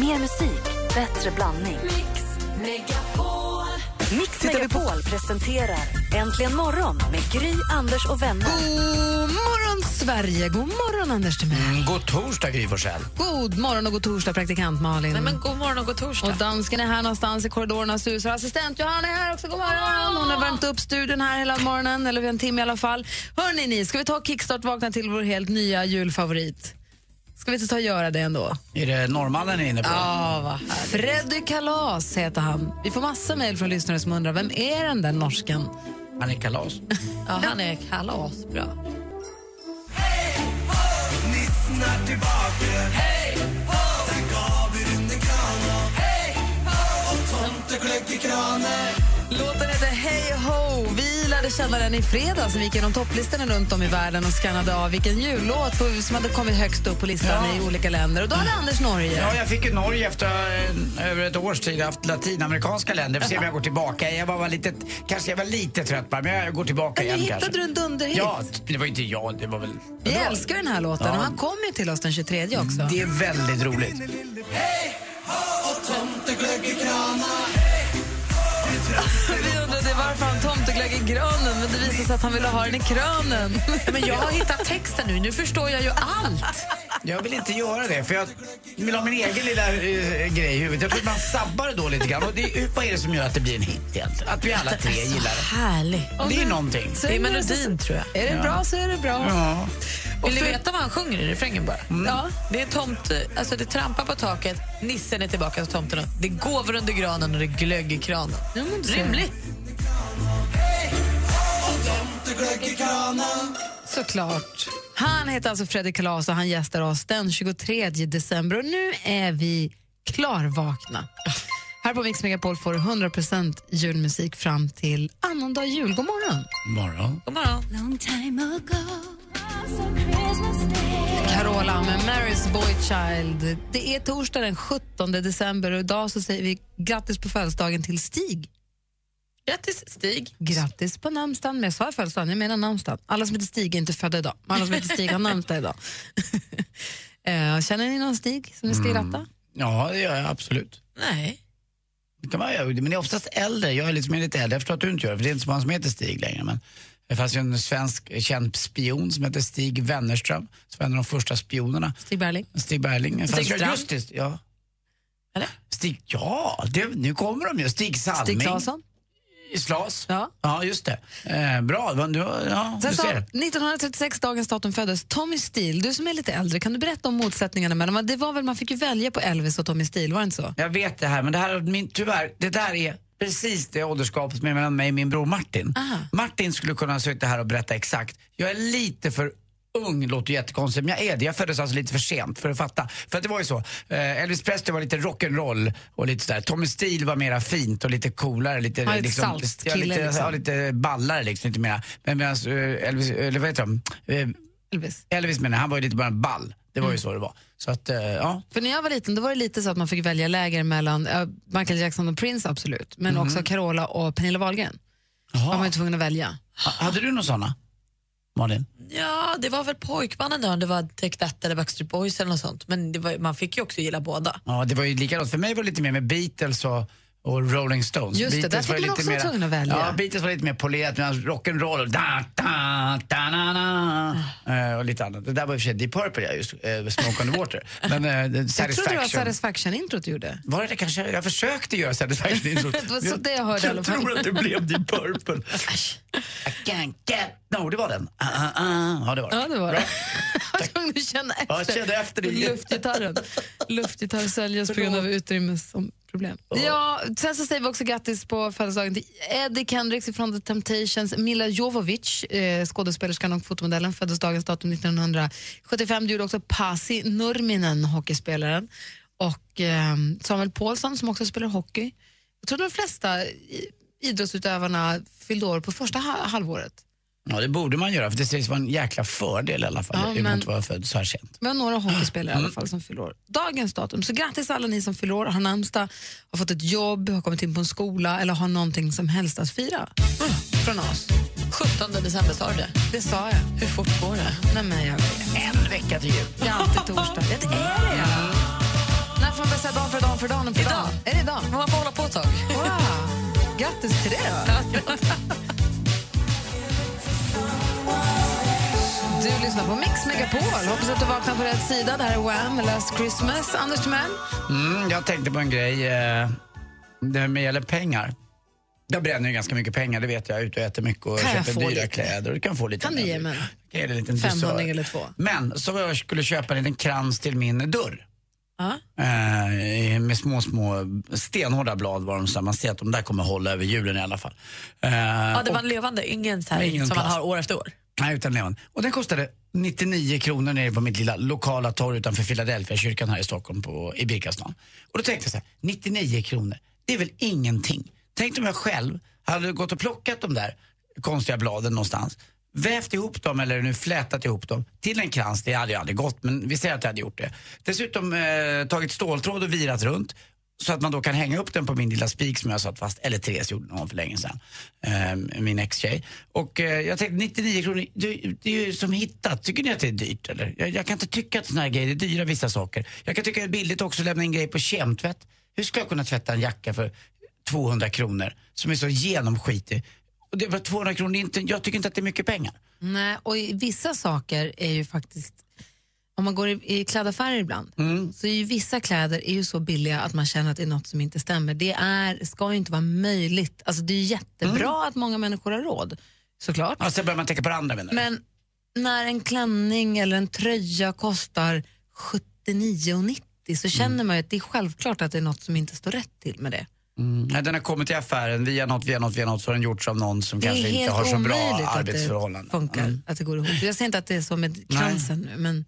Mer musik, bättre blandning. Mix Megapol. Mix Tittar vi på- Megapol presenterar Äntligen morgon med Gry, Anders och vänner. God morgon, Sverige! God morgon, Anders Timell! Mm, God torsdag, Gry Forssell. God morgon och god torsdag, praktikant Malin. Nej, men god morgon och god torsdag. Och dansken är här någonstans i korridorerna susar. Assistent Johanna är här också. God morgon! Hon har värmt upp studion här hela morgonen, eller en timme i alla fall. Hörrni, ni, ska vi ta kickstart vakna till vår helt nya julfavorit? Ska vi inte ta och göra det ändå? Är det norrmannen ni är inne på? Ja, vad härligt. Freddy Kalas heter han. Vi får massa mejl från lyssnare som undrar vem är den där norsken? Han är kalas. Ja, han är kalasbra. Låten heter Hey Ho. Vi lärde känna den i fredags. Vi gick igenom topplistorna runt om i världen och skannade av vilken jullåt på- som hade kommit högst upp på listan Ja. i olika länder. Och då hade Anders Norge. Ja, jag fick ju Norge efter eh, över ett års tid haft latinamerikanska länder. Får se om jag går tillbaka. Jag var, var lite, kanske jag var lite trött bara, men jag går tillbaka Men nu igen hittade kanske. du en dunderhit. Ja, det var ju inte jag, det var väl... Vi älskar den här låten och han kommer ju till oss den 23 också. Det är väldigt roligt. Vi undrade varför han tomteglögg i granen men det visade sig att han ville ha den i kranen. Men jag har hittat texten nu. Nu förstår jag ju allt. Jag vill inte göra det, för jag vill ha min egen lilla eh, grej i huvudet. Jag tror att man sabbar det då lite grann. Och det, vad är det som gör att det blir en hit egentligen? Att vi alla tre gillar Härligt. det. Det är någonting. Så Det är det melodin, tror jag. Är det bra så är det bra. Ja. Och Vill ni för- veta vad han sjunger i refrängen bara? Ja. Mm. Det är tomt, alltså det trampar på taket, nissen är tillbaka hos tomten och det går under granen och det är glögg i kranen. Ja, men du ser. Rimligt. Såklart. Han heter alltså Fredrik Kalas och han gästar oss den 23 december. Och nu är vi klarvakna. Här på Mix Megapol får du 100% julmusik fram till annandag jul. God morgon! Morgon. God morgon. Carola med Mary's Boy Child. Det är torsdag den 17 december och idag så säger vi grattis på födelsedagen till Stig. Grattis, Stig. Grattis på namnsdagen, men jag sa födelsedagen, jag menar namnsdagen. Alla som heter Stig är inte födda idag, men alla som heter Stig har namnsdag idag. Eh, Känner ni någon Stig som ni ska Mm. gratta? Ja, det gör jag absolut. Nej. Det kan man göra, men det är oftast äldre. Jag är liksom lite äldre, jag förstår att du inte gör det, för det är inte så många som heter Stig längre. Men det fanns ju en svensk känd spion som hette Stig Wennerström, som var en av de första spionerna. Stig Berling? Stig Berling. Det fanns Stig ju- Strand? Just det, ja. Eller? Stig, ja, det, nu kommer de ju. Stig Salming. Stig Claesson? Slas. Ja. Ja, just det. Eh, bra, men du, ja, Sen du så, ser. 1936, dagens datum föddes Tommy Steele. Du som är lite äldre, kan du berätta om motsättningarna mellan dem? Det var väl, man fick ju välja på Elvis och Tommy Steele, var det inte så? Jag vet det här, men det här, är min, tyvärr, det där är precis det åldersgapet som är mellan mig och min bror Martin. Aha. Martin skulle kunna ha suttit här och berätta exakt. Jag är lite för ung, låter jättekonstigt, men jag är det. Jag föddes alltså lite för sent för att fatta. För att det var ju så, eh, Elvis Presley var lite rock'n'roll och lite sådär. Tommy Steele var mera fint och lite coolare. Lite, Ja, lite liksom, saltkille, ja, lite, liksom. ja, lite ballare liksom, lite mera. Men medan eh, Elvis, eller vad heter han? Eh, Elvis. Elvis menar jag, han var ju lite bara en ball. Det Mm. var ju så det var. Så att, eh, ja. För när jag var liten då var det lite så att man fick välja läger mellan eh, Michael Jackson och Prince, absolut. Men också Carola och Pernilla Wahlgren. Man var ju tvungen att välja. Ha- Hade du någon såna? Malin? Ja, det var väl pojkbanden då, om det var Take That eller Backstreet Boys eller något sånt. Men det var, man fick ju också gilla båda. Ja, det var ju likadant. För mig var det lite mer med Beatles och, och Rolling Stones. Just det, Beatles där fick var man ju lite också vara mera- tvungen att välja. Ja, Beatles var lite mer polerat medan rock'n'roll och da, da, da, na, na, Ah. eh, och lite annat. Det där var i och för sig Deep Purple, ja, just eh, Smoke on the Water. Men eh, Jag trodde det var Satisfaction. Satisfaction-introt du gjorde. Var det det kanske? Jag försökte göra Satisfaction introt. Det var så det jag hörde i alla fall. tror att det blev Deep Purple. I can't get... No, det var den. Ah, ah, ah. Ja, det var det. Ja, det var det. Jag var tvungen att känna efter. Ja, jag kände efter det. Luftgitarren. Luftgitarr säljes på grund av utrymmesproblem. Ja, sen så säger vi också grattis på födelsedagen till Eddie Kendricks från The Temptations. Mila Jovovich, eh, skådespelerskan och fotomodellen, föddes dagens datum 1975. Det gjorde också Pasi Nurminen, hockeyspelaren. Och eh, Samuel Paulsson som också spelar hockey. Jag tror de flesta i- idrottsutövarna fyllde år på första ha- halvåret. Ja, det borde man göra, för det sägs vara en jäkla fördel i alla fall, Ja, emot men- att vara född så här sent. Vi har några hockeyspelare i alla fall som fyller år. Dagens datum. Så grattis alla ni som fyller år, har namnsdag, har fått ett jobb, har kommit in på en skola eller har någonting som helst att fira Mm. från oss. 17 december sa du det. Det sa jag. Hur fort går det? Nej, men jag vet. En vecka till jul. Det är alltid torsdag. Det är det. När får man bästa dagen för för dagen och för Idag. dagen. Är det idag? Man får hålla på ett tag. Wow. Grattis till det då. Du lyssnar på Mix Megapol. Hoppas att du vaknar på rätt sida. Det här är Wham! Last Christmas. Anders Timell. Mm, jag tänkte på en grej. eh, Det här med gäller pengar. Jag bränner ju ganska mycket pengar, det vet jag. Jag är ute och äter mycket och Kan jag köper få dyra lite? kläder. Du kan få lite. Kan du mer. ge mig en? Jag kan ge dig en liten 500 dusör. eller två? Men så var jag skulle köpa en liten krans till min dörr. Ja. Eh, med små, små stenhårda blad var de så här. Man ser att de där kommer hålla över julen i alla fall. Eh, Ja, det och- var levande, ingen så här Nej, ingen som man plast. har år efter år. Nej, utan levan. Och den kostade 99 kronor nere på mitt lilla lokala torg utanför Philadelphia kyrkan här i Stockholm på, i Birkastan. Och då tänkte jag så här, 99 kronor, det är väl ingenting. Tänk om jag själv hade gått och plockat de där konstiga bladen någonstans, vävt ihop dem eller nu flätat ihop dem till en krans, det hade ju aldrig gått men vi säger att jag hade gjort det. Dessutom eh, tagit ståltråd och virat runt så att man då kan hänga upp den på min lilla spik som jag satt fast, eller Therese gjorde någon för länge sedan, eh, min ex-tjej. Och eh, jag tänkte 99 kronor, det, det är ju som hittat. Tycker ni att det är dyrt eller? Jag, jag kan inte tycka att såna här grejer är dyra vissa saker. Jag kan tycka det är billigt också att lämna in grejer på kemtvätt. Hur ska jag kunna tvätta en jacka för 200 kronor som är så genomskitig? Och det var 200 kronor, det är inte, jag tycker inte att det är mycket pengar. Nej, och i- vissa saker är ju faktiskt... Om man går i, i klädaffärer ibland så är ju vissa kläder är ju så billiga att man känner att det är något som inte stämmer. Det är, ska ju inte vara möjligt. Alltså, det är ju jättebra att många människor har råd, såklart. Ja, sen Alltså, börjar man tänka på det andra menar du? Men när en klänning eller en tröja kostar 79,90 så känner Mm. man ju att det är självklart att det är något som inte står rätt till med det. Mm. Nej, den har kommit till affären via något, via något, via något så har den gjorts av någon som Det kanske är inte helt har så bra omöjligt att det arbetsförhållanden. Mm. funkar, att det går ihop. Jag säger inte att det är så med kransen nu, men,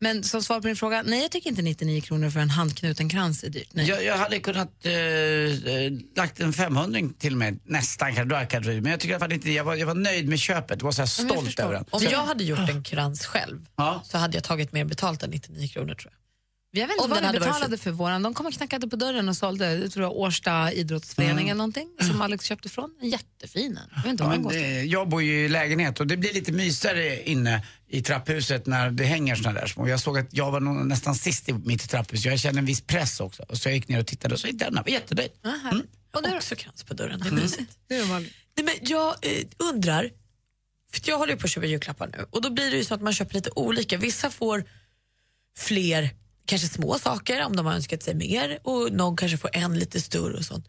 men som svar på din fråga, nej jag tycker inte 99 kronor för en handknuten krans är dyrt. Nej. Jag, jag hade kunnat eh, eh, lagt en 500 till mig nästan, kanske, då hade jag kanske- men jag tycker i alla fall inte, jag var, jag var nöjd med köpet, jag var så här men jag stolt förstår. över den. Om jag hade gjort en krans själv Ja. så hade jag tagit mer betalt än 99 kronor tror jag. Jag vet inte Om vad den vi hade varit betalade för våran. De kom och knackade på dörren och sålde, jag tror det var Årsta idrottsförening eller någonting, som Alex köpte ifrån. En jättefin en. Jag vet inte Mm. Ja, vad den men, kostar. eh, jag bor ju i lägenhet och det blir lite mysigare inne i trapphuset när det hänger såna där små. Jag såg att jag var nog nästan sist i mitt trapphus. Jag kände en viss press också. Och så jag gick ner och tittade och så hittade jag den. här. Jag var jättenöjd. Ja, härligt. Och du då? Också krans på dörren, det är mysigt. Ah, Det är vanligt. Nej, men jag eh, undrar, för att jag håller ju på att köpa julklappar nu och då blir det ju så att man köper lite olika. Vissa får fler, kanske små saker om de har önskat sig mer och någon kanske får en lite större och sånt.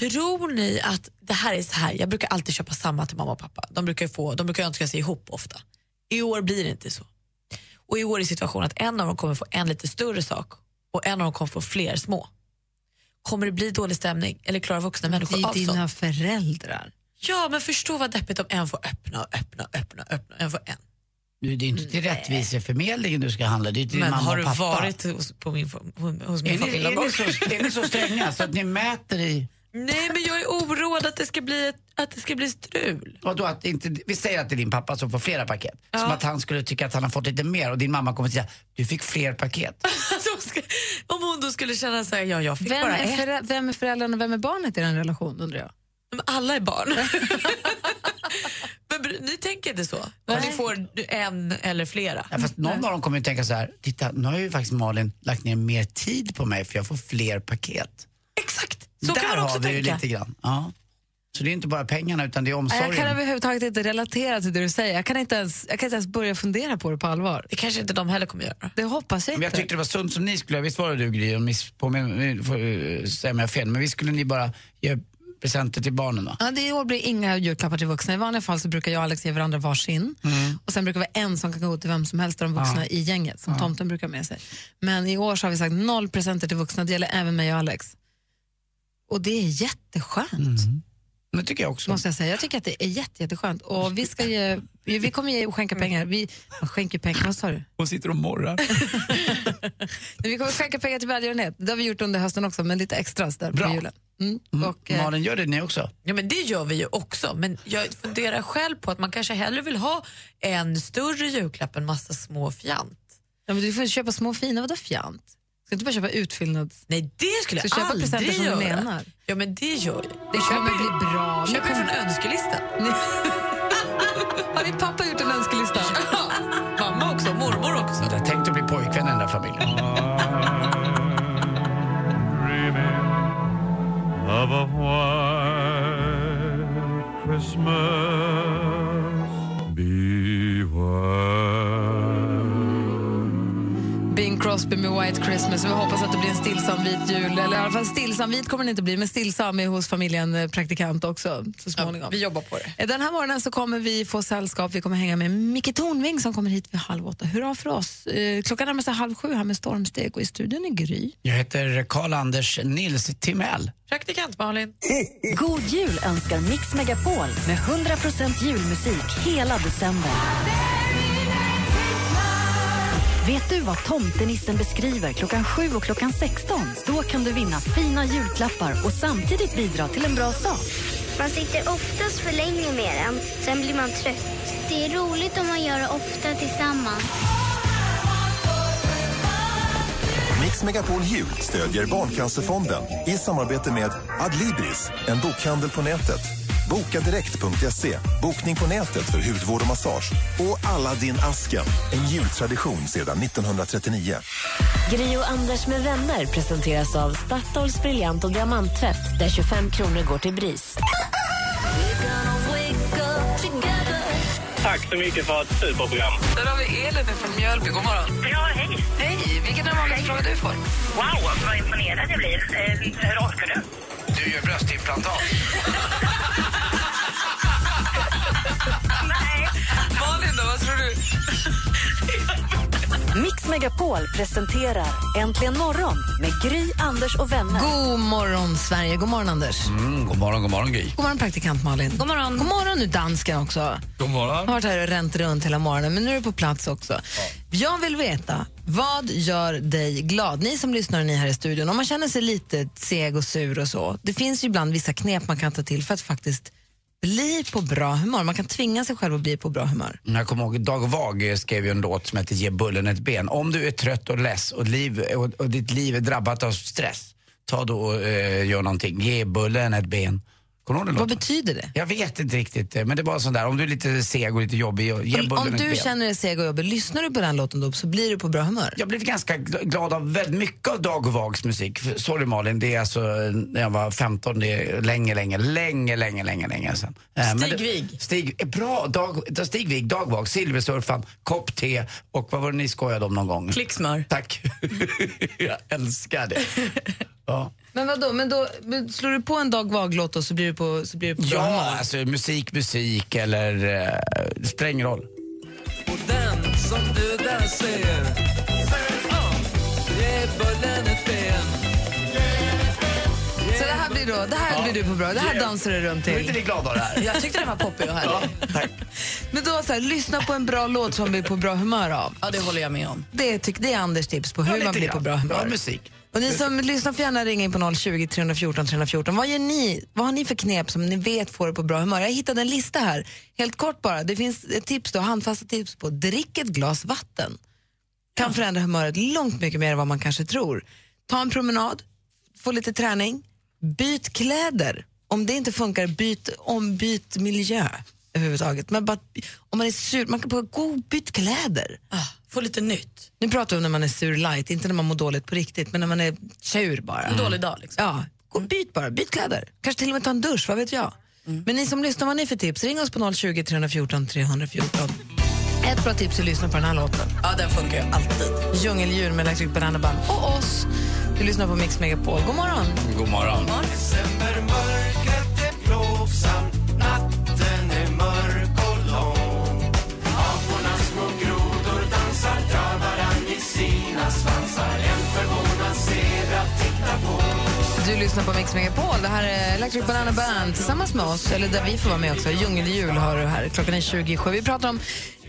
Tror ni att det här är så här, jag brukar alltid köpa samma till mamma och pappa. De brukar, ju få, de brukar önska sig ihop ofta. I år blir det inte så. Och i år är situationen att en av dem kommer få en lite större sak och en av dem kommer få fler små. Kommer det bli dålig stämning eller klarar vuxna Det människor är av Alltså. sånt? dina föräldrar. Ja, men förstå vad deppigt om en får öppna och öppna och öppna och öppna. En får en. Nu, Det är inte till Rättviseförmedlingen du ska handla, det är till Men mamma har du och pappa. varit hos, på min, fam- hos min är ni, familj? är, ni så, är ni så stränga så att ni mäter i... Nej, men jag är oroad att det ska bli, ett, att det ska bli strul. Vadå, att inte, vi säger att det är din pappa som får flera paket. Som att han skulle tycka att han har fått lite mer och din mamma kommer säga du fick fler paket. Alltså, hon ska, om hon då skulle känna så här, ja, jag fick Vem bara är, ett. förä- vem är föräldern och vem är barnet i den relationen undrar jag? Men alla är barn. men br- ni tänker inte så? Om ni Nej. får en eller flera? Ja, fast någon av dem kommer ju tänka så här, titta nu har ju faktiskt Malin lagt ner mer tid på mig för jag får fler paket. Exakt, så Där kan man också har vi ju tänka. lite grann. Ja. Så det är inte bara pengarna utan det är Nej, omsorgen. Jag kan överhuvudtaget inte relatera till det du säger. Jag kan inte ens, jag kan inte ens börja fundera på det på allvar. Det kanske inte de heller kommer göra. Det hoppas jag Men inte. jag tyckte det var sunt som ni skulle, visst var det du Gry, om miss- påminn- får, eh, säga om jag har fel, men visst skulle ni bara ge presenter till barnen va? Ja, det i år blir inga julklappar till vuxna. I vanliga fall så brukar jag och Alex ge varandra varsin. Och sen brukar det vara en som kan gå till vem som helst av de vuxna i gänget, som tomten brukar ha med sig. Men i år så har vi sagt noll presenter till vuxna. Det gäller även mig och Alex. Och det är jätteskönt, Det tycker jag också. måste jag säga. Jag tycker att det är jätte, jätteskönt. Och vi, ska ge, vi kommer ge och skänka pengar. Vi, man skänker pengar, vad sa du? Hon sitter och morrar. Nej, Vi kommer skänka pengar till välgörenhet. Det har vi gjort under hösten också, men lite extra där Bra. på julen. Mm. Och, eh, Malin, gör det ni också? Ja, men det gör vi ju också, men jag funderar själv på att man kanske hellre vill ha en större julklapp än massa små fjant. ja, men du får köpa små fina, vadå fjant? Ska inte bara köpa utfyllnads... Nej, det skulle Så jag köpa aldrig presenter som du göra. menar. Ja, men det gör jag. Det kommer bli bra. Köper jag från önskelistan. Har din pappa gjort en önskelista? Mamma också, mormor också. Jag tänkte bli pojkvän i den där familjen. Crosby med White Christmas. Vi hoppas att det blir en stillsam vit jul. Eller i alla fall stillsam vit kommer det inte bli, men stillsam är hos familjen eh, praktikant också så småningom. Vi jobbar på det. Eh, Den här morgonen så kommer vi få sällskap. Vi kommer hänga med Micke Tornving som kommer hit vid halv åtta. Hurra för oss! Eh, Klockan närmar sig halv sju här med stormsteg och i studion är Gry. Jag heter Karl-Anders Nils Timell. Praktikant Malin. God jul önskar Mix Megapol med 100% julmusik hela december. Vet du vad tomtenissen beskriver klockan 7 och klockan 16? Då kan du vinna fina julklappar och samtidigt bidra till en bra sak. Man sitter oftast för länge med den, sen blir man trött. Det är roligt om man gör det ofta tillsammans. Mix Megapol Jul stödjer Barncancerfonden i samarbete med Adlibris, en bokhandel på nätet bokadirekt.se, E. bokning på nätet för hudvård och massage och Aladdin asken en jultradition sedan 1939. Gri och Anders med vänner presenteras av Statoils briljant och diamanttvätt där 25 kronor går till BRIS. Tack så mycket för ett superprogram. Där har vi Elin från Mjölby. God morgon. Ja, hej. Hej! Vilken är den vanligaste frågan du får? Wow, vad imponerad jag blir. Eh, hur orkar du? Du gör bröstimplantat. Nej. Malin, då, vad tror du? Mix Megapol presenterar Äntligen morgon med Gry, Anders och vänner. God morgon, Sverige. God morgon, Anders. Mm, god morgon, god morgon Gry. God morgon, praktikant Malin. God morgon. God morgon nu, dansken också. God morgon. Jag har varit här och ränt runt hela morgonen, men nu är du på plats också. Jag vill veta, vad gör dig glad? Ni som lyssnar och ni här i studion, om man känner sig lite seg och sur och så. Det finns ju ibland vissa knep man kan ta till för att faktiskt bli på bra humör. Man kan tvinga sig själv att bli på bra humör. Jag kommer ihåg, Dag Wag skrev ju en låt som heter Ge bullen ett ben. Om du är trött och less och, liv, och, och ditt liv är drabbat av stress, ta då och eh, gör någonting. Ge bullen ett ben. Kommer du ihåg den Vad låten? betyder det? Jag vet inte riktigt, eh, men det var sån där, om du är lite seg och lite jobbig, ge Om, bullen om ett ben. du känner dig seg och jobbig, lyssnar du på den låten då så blir du på bra humör. Jag blev ganska gl- glad av väldigt mycket av Dag Wags musik. F- Sorry Malin, det är alltså eh, när jag var 15, det är länge, länge, länge, länge, länge, länge sedan. Eh, men Stig det- Wig. Stig, eh, bra, Dag, Stig Wig, Dag Wag, Silversurfan, kopp te och vad var det ni skojade om någon gång? Klicksmör. Tack. jag älskar det. Ja, Men vadå, men då men slår du på en Dag Vag-låt och så blir du på, så blir du på bra ja humör? alltså musik, musik eller eh, det spelar ingen roll. Och den som du där ser ah, Ge bullen ett ben Så det här blir då, det här blir du på bra, det här dansar du runt Är inte till. ni glada av det här? Jag tyckte den var poppig och Ja, härlig. tack. Men då så här, lyssna på en bra låt som blir på bra humör av. Ja, det håller jag med om. Det, tyck, det är Anders tips på hur Ja, man lite blir på grann. bra Bra humör. musik. Och ni som lyssnar får gärna ringa in på 020 314 314. Vad gör ni? Vad har ni för knep som ni vet får er på bra humör? Jag hittade en lista här, helt kort bara. Det finns ett tips då, handfasta tips på drick ett glas vatten. Kan förändra humöret långt mycket mer än vad man kanske tror. Ta en promenad, få lite träning, byt kläder. Om det inte funkar, byt om, byt miljö överhuvudtaget. Men bara, om man är sur, man kan bara gå byt kläder. Ah, få lite nytt. Nu pratar vi om när man är sur light, inte när man mår dåligt på riktigt, men när man är sur bara. Dålig dag liksom. Mm. Ja, gå och byt bara, byt kläder. Kanske till och med ta en dusch, vad vet jag. Mm. Men ni som lyssnar, vad har ni för tips? Ring oss på 020 314 314. Ett bra tips är att lyssna på den här låten. Ja, den funkar ju alltid. Djungeldjur med Electric Banana Band och oss. Du lyssnar på Mix Megapol. God morgon! God morgon. Decembermörkret är plågsamt Natten är mörk och lång Aporna små grodor dansar Drar varann i sina svansar En förvånad zebra tittar på Du lyssnar på Mix Megapol. Det här är Electric Banana Band tillsammans med oss, eller där vi får vara med också. Djungeljul har du här. Klockan är 27. Vi pratar om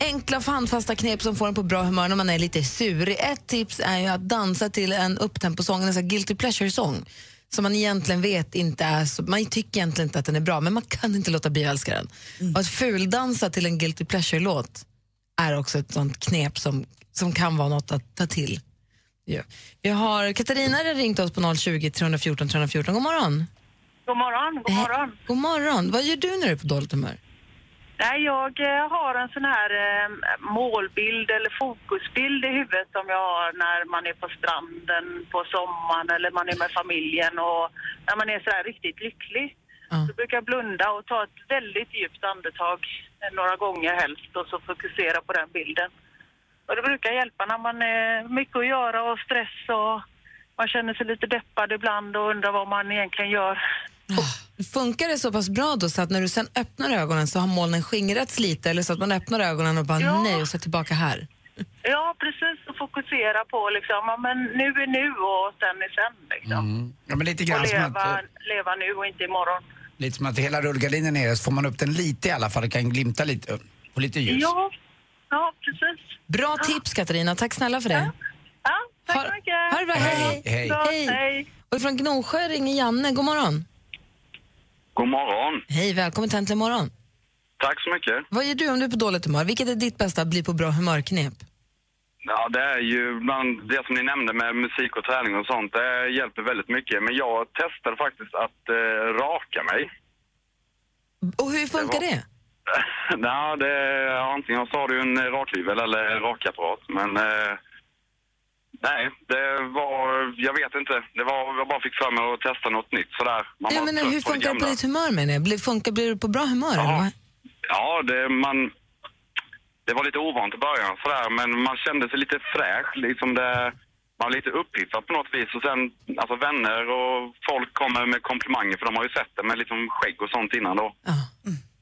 enkla handfasta knep som får en på bra humör när man är lite surig. Ett tips är ju att dansa till en upptemposång, en sån här guilty pleasure-sång som man egentligen vet inte är så, man tycker egentligen inte att den är bra men man kan inte låta bli att älska den. Och att fuldansa till en guilty pleasure-låt är också ett sånt knep som, som kan vara något att ta till. Ja. Vi har Katarina har ringt oss på 020 314 314. God morgon. God morgon, god morgon. Eh, God morgon. Vad gör du när du är på dåligt humör? Nej, jag eh, har en sån här eh, målbild eller fokusbild i huvudet som jag har när man är på stranden på sommaren eller man är med familjen och när man är så här riktigt lycklig. Ja. Så brukar jag blunda och ta ett väldigt djupt andetag eh, några gånger helst och så fokusera på den bilden. Och det brukar hjälpa när man är mycket att göra och stress och man känner sig lite deppad ibland och undrar vad man egentligen gör. Funkar det så pass bra då så att när du sen öppnar ögonen så har molnen skingrats lite eller så att man öppnar ögonen och bara Ja. nej och så tillbaka här? Ja, precis. Och fokusera på liksom, ja, men nu är nu och sen är sen. Liksom. Mm. Ja, men lite grann Och som leva, att, eh, leva nu och inte imorgon. lite som att hela rullgardinen är nere så får man upp den lite i alla fall, det kan glimta lite och lite ljus. Ja, ja precis. Bra tips Katarina, tack snälla för det. Ja, tack Ha- så mycket. ha det bra, hej. Hej. Ja, Hej. hej. Och från Gnosjö ringer Janne, god morgon. God morgon. Hej, välkommen till Äntligen morgon. Tack så mycket. Vad gör du om du är på dåligt humör? Vilket är ditt bästa bli på bra humörknep? Ja, det är ju bland det som ni nämnde med musik och träning och sånt. Det hjälper väldigt mycket. Men jag testade faktiskt att eh, raka mig. Och hur funkar det? Nej, det är antingen så har du en rakhyvel eller en rakapparat. Men eh, nej, det var... Jag vet inte. Det var, jag bara fick för mig att testa något nytt sådär. Man Jag var menar, trött hur funkar det på gamla. ditt humör menar jag? Blir, funkar, blir du på bra humör eller? Ja, vad? ja det, man, det var lite ovant i början sådär, men man kände sig lite fräsch. Liksom det, man var lite uppiffad på något vis. Och sen, alltså vänner och folk kommer med komplimanger, för de har ju sett det med liksom skägg och sånt innan då. Ja.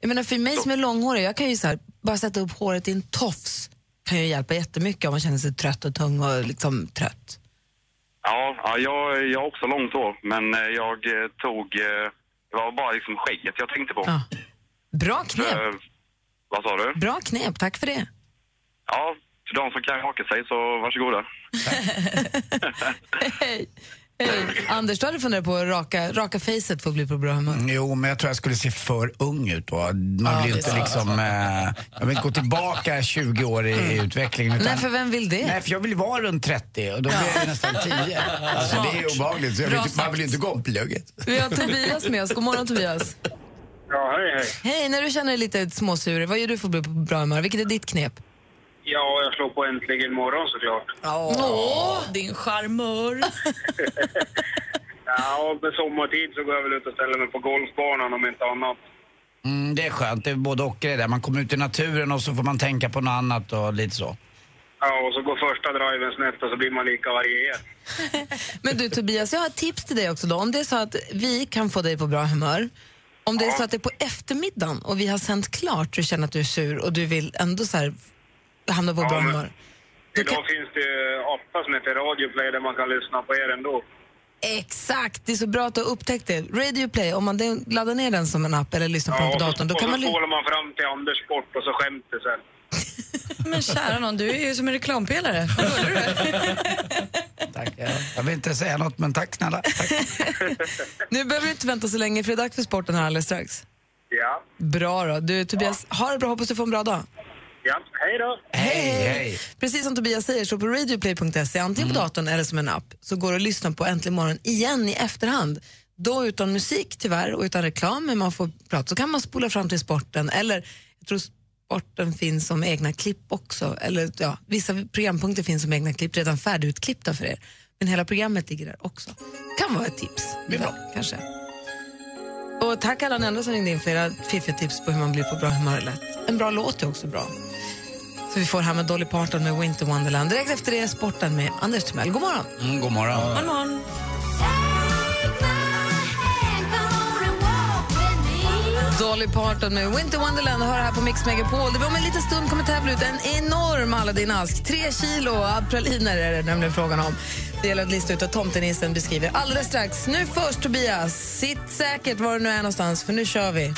Jag menar, för mig som är långhårig, jag kan ju så här, bara sätta upp håret i en tofs kan ju hjälpa jättemycket om man känner sig trött och tung och liksom trött. Ja, ja jag, jag har också långt hår, men eh, jag eh, tog... eh, Det var bara liksom skägget jag tänkte på. Ja. Bra knep, Eh, vad sa du? bra knep, tack för det. Ja, för de som kan haka sig, så varsågoda. Hej. Hej. Anders, du hade funderat på att raka, raka facet för att bli på bra humör? Jo, men jag tror jag skulle se för ung ut då. Man blir ju det inte liksom... Eh, jag vill inte gå tillbaka 20 år i i utvecklingen. Utan, Mm. Nej, för vem vill det? Nej, för jag vill ju vara runt 30 och då blir jag ju nästan 10. Alltså, det är ju obehagligt. Så jag vill, inte- man vill ju inte gå om plugget. Vi har Tobias med oss. God morgon, Tobias. Ja, hej, hej. Hej, när du känner dig lite småsur, vad gör du för att bli på bra humör? Vilket är ditt knep? Ja, jag slår på äntligen morgon såklart. Åh, din charmör. Ja, på sommartid så går jag väl ut och ställer mig på golfbanan om inte annat. Mm, det är skönt, det är både och det där. Man kommer ut i naturen och så får man tänka på något annat och lite så. Ja, och så går första driven snett och så blir man lika varierad. Men du Tobias, jag har ett tips till dig också då. Om det är så att vi kan få dig på bra humör, om det är så att det är på eftermiddagen och vi har sänt klart, du känner att du är sur och du vill ändå så här hamna på bra men- humör. Du Idag kan, finns det ju appar som heter Radioplay där man kan lyssna på er ändå. exakt, det är så bra att du har upptäckt det. Radio Play, om man den- laddar ner den som en app eller lyssnar på den på och datorn, så, då och kan så man... ly- spolar man fram till Anders Sport och så skämt det sen. Men kära någon, du är ju som en reklampelare. Tack. ja. Jag vill inte säga något, men tack snälla. Tack. Nu behöver du inte vänta så länge, för det är dags för sporten här alldeles strax. Ja, Bra då. Du Tobias, ha det bra, hoppas du får en bra dag. ja. Hej då! Hej, Mm. hej. Precis som Tobias säger, så på radioplay.se, antingen på datorn eller som en app, så går det att lyssna på Äntligen morgon igen i efterhand. Då utan musik tyvärr och utan reklam, men man får prata. Så kan man spola fram till sporten eller, jag tror sporten finns som egna klipp också. Eller ja, vissa programpunkter finns som egna klipp, redan färdigutklippta för er. Men hela programmet ligger där också. Kan vara ett tips. Det är bra. Kanske. Och tack alla ni andra som ringde in för era fiffiga tips på hur man blir på bra humör lätt. En bra låt är också bra. Så vi får här med Dolly Parton med Winter Wonderland. Direkt efter det är sporten med Anders Timell. God morgon! Mm, god morgon. Dolly Parton med Winter Wonderland hör här på Mix Megapol. Där vi om en liten stund kommer tävla ut en enorm Aladdin-ask. Tre kilo praliner är det nämligen frågan om. Det gäller att lista ut vad tomtenissen beskriver alldeles strax. Nu först Tobias, sitt säkert var du nu är någonstans för nu kör vi.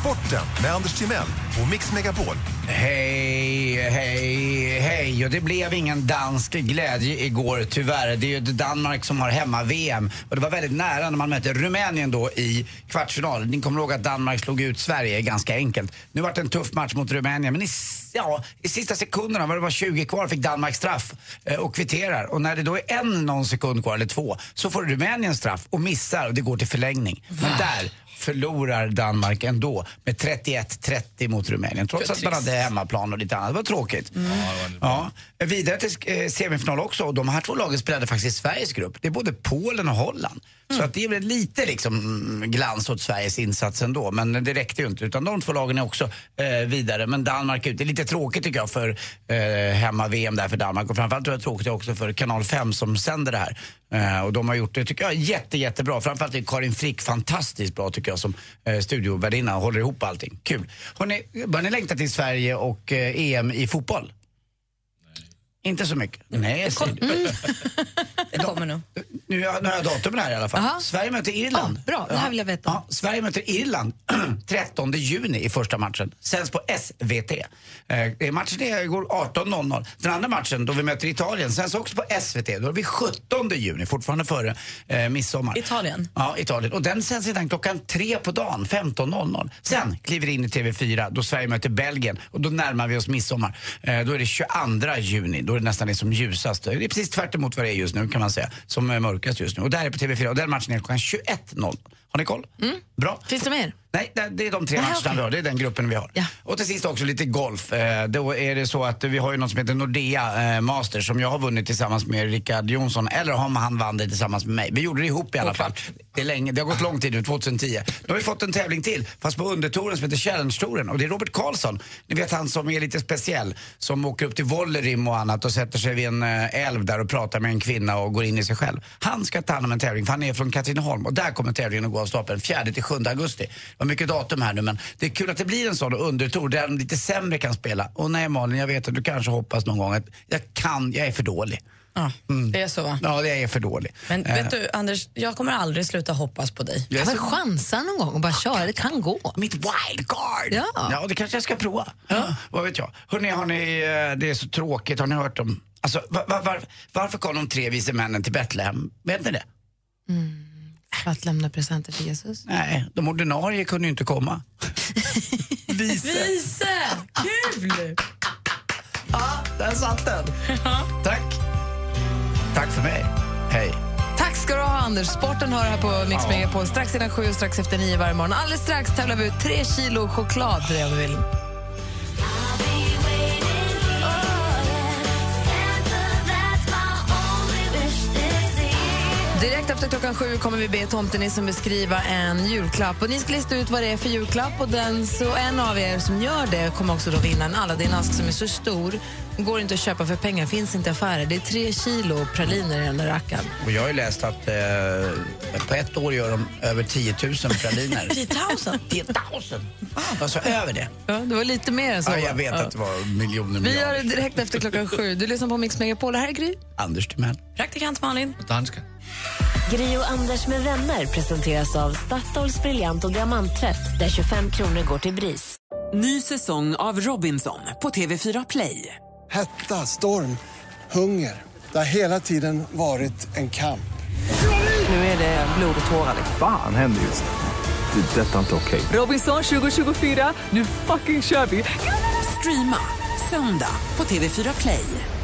Sporten med Anders Timell och Mix Megapol. Hej, hej, hej. Och det blev ingen dansk glädje igår tyvärr. Det är ju Danmark som har hemma-VM. Och det var väldigt nära när man mötte Rumänien då i kvartsfinalen. Ni kommer ihåg att Danmark slog ut Sverige ganska enkelt. Nu var det en tuff match mot Rumänien. Men i, s- ja, i sista sekunderna, var det var 20 kvar, fick Danmark straff eh, och kvitterar. Och när det då är en någon sekund kvar, eller två, så får Rumänien straff och missar och det går till förlängning. Men där förlorar Danmark ändå med 31-30 mot Rumänien. Trots att man hade hemmaplan och lite annat. Det var tråkigt. Mm. Ja, vidare till eh, semifinal också. Och de här två lagen spelade faktiskt i Sveriges grupp. Det är både Polen och Holland. Så att det är väl lite liksom mm, glans åt Sveriges insats ändå. Men det räckte ju inte. Utan de två lagen är också eh, vidare. Men Danmark är ute. Det är lite tråkigt tycker jag för eh, hemma-VM där för Danmark. Och framförallt tror jag tråkigt det är också för Kanal 5 som sänder det här. Eh, och de har gjort det, tycker jag, jätte, jättebra. Framförallt är Karin Frick fantastiskt bra tycker jag som eh, studiovärdinna. och Håller ihop allting. Kul. Hörrni, börjar ni längta till Sverige och eh, EM i fotboll? Inte så mycket. Nej, jag säger det. Det kommer nog. Nu har, nu har jag datumen här i alla fall. Sverige möter Irland. Ja, bra. Det här vill jag veta. Ja, Sverige möter Irland 13 juni i första matchen. Sänds på SVT. Eh, det- matchen är, går 18.00. Den andra matchen, då vi möter Italien, sänds också på SVT. Då är vi 17 juni, fortfarande före eh, midsommar. Italien. Ja, Italien. Och den sänds redan klockan tre på dagen, 15.00. Sen kliver det in i TV4 då Sverige möter Belgien och då närmar vi oss midsommar. Eh, då är det 22 juni, då är det nästan det som ljusast. Det är precis tvärt emot vad det är just nu kan man säga, som är mörkast just nu. Och där är på TV4 och den matchen är klockan 21.00. Har ni koll? Bra. Finns det mer? Nej, det- det är de tre Nej, matcherna okej. vi har. Det är den gruppen vi har. Och till sist också lite golf. Eh, Då är det så att vi har ju något som heter Nordea eh, Masters som jag har vunnit tillsammans med Rickard Jonsson. Eller om han vann det tillsammans med mig. Vi gjorde det ihop i alla fall. Det, är länge, det har gått lång tid nu, 2010. Nu har vi fått en tävling till, fast på undertouren som heter Challenge-touren. Och det är Robert Karlsson. Ni vet han som är lite speciell. Som åker upp till Vollerim och annat och sätter sig vid en eh, älv där och pratar med en kvinna och går in i sig själv. Han ska ta hand om en tävling för han är från Katrineholm och där kommer tävlingen att gå av stapeln 4-7 augusti. Det var mycket datum här nu men det är kul att det blir en sån undertour där de lite sämre kan spela. Och nej Malin, jag vet att du kanske hoppas någon gång att jag kan, jag är för dålig. Ja, Mm. det är så va? Ja, det är för dålig. Men Eh, vet du Anders, jag kommer aldrig sluta hoppas på dig. jag är Men så- chansa någon gång och bara köra, det kan gå. Mitt wildcard! Ja. ja, det kanske jag ska prova. Ja. Vad vet jag. Hörrni, har ni, eh, det är så tråkigt, har ni hört om... Alltså, va- va- var, varför kom de tre vise männen till Betlehem? Vet ni det? För att lämna presenter till Jesus. Nej, de ordinarie kunde ju inte komma. Vise. Vise! Kul! Ja, där satt den. Tack. Tack för mig. Hej. Tack ska du ha, Anders. Sporten hör här på Mix Megapol strax innan sju och strax efter nio varje morgon. Alldeles strax tävlar vi ut tre kilo choklad till dig om du vill. Direkt efter klockan sju kommer vi be tomtenissen beskriva en julklapp. Och ni ska lista ut vad det är för julklapp och den, så en av er som gör det kommer också då vinna en Aladdin-ask som är så stor. Går inte att köpa för pengar, finns inte i affärer. Det är tre kilo praliner i den där rackaren. Och jag har ju läst att eh, på ett år gör de över 10 000 praliner. 10 000? 10 000? Alltså över det? Ja, det var lite mer än så. Ja, jag vet Ja. att det var miljoner Vi gör det miljarder. direkt efter klockan sju. Du lyssnar på Mix Megapol. Det här är Gry. Anders Timell. Praktikant Malin. Danska. Gri och Anders med vänner presenteras av Statoils briljant och diamanttvätt där 25 kronor går till BRIS. Ny säsong av Robinson på TV4 Play. Hetta, storm, hunger. Det har hela tiden varit en kamp. Nu är det blod och tårar. Fan händer just nu. Det. är Detta är inte okej. Robinson 2024, nu fucking kör vi! Streama söndag på TV4 Play.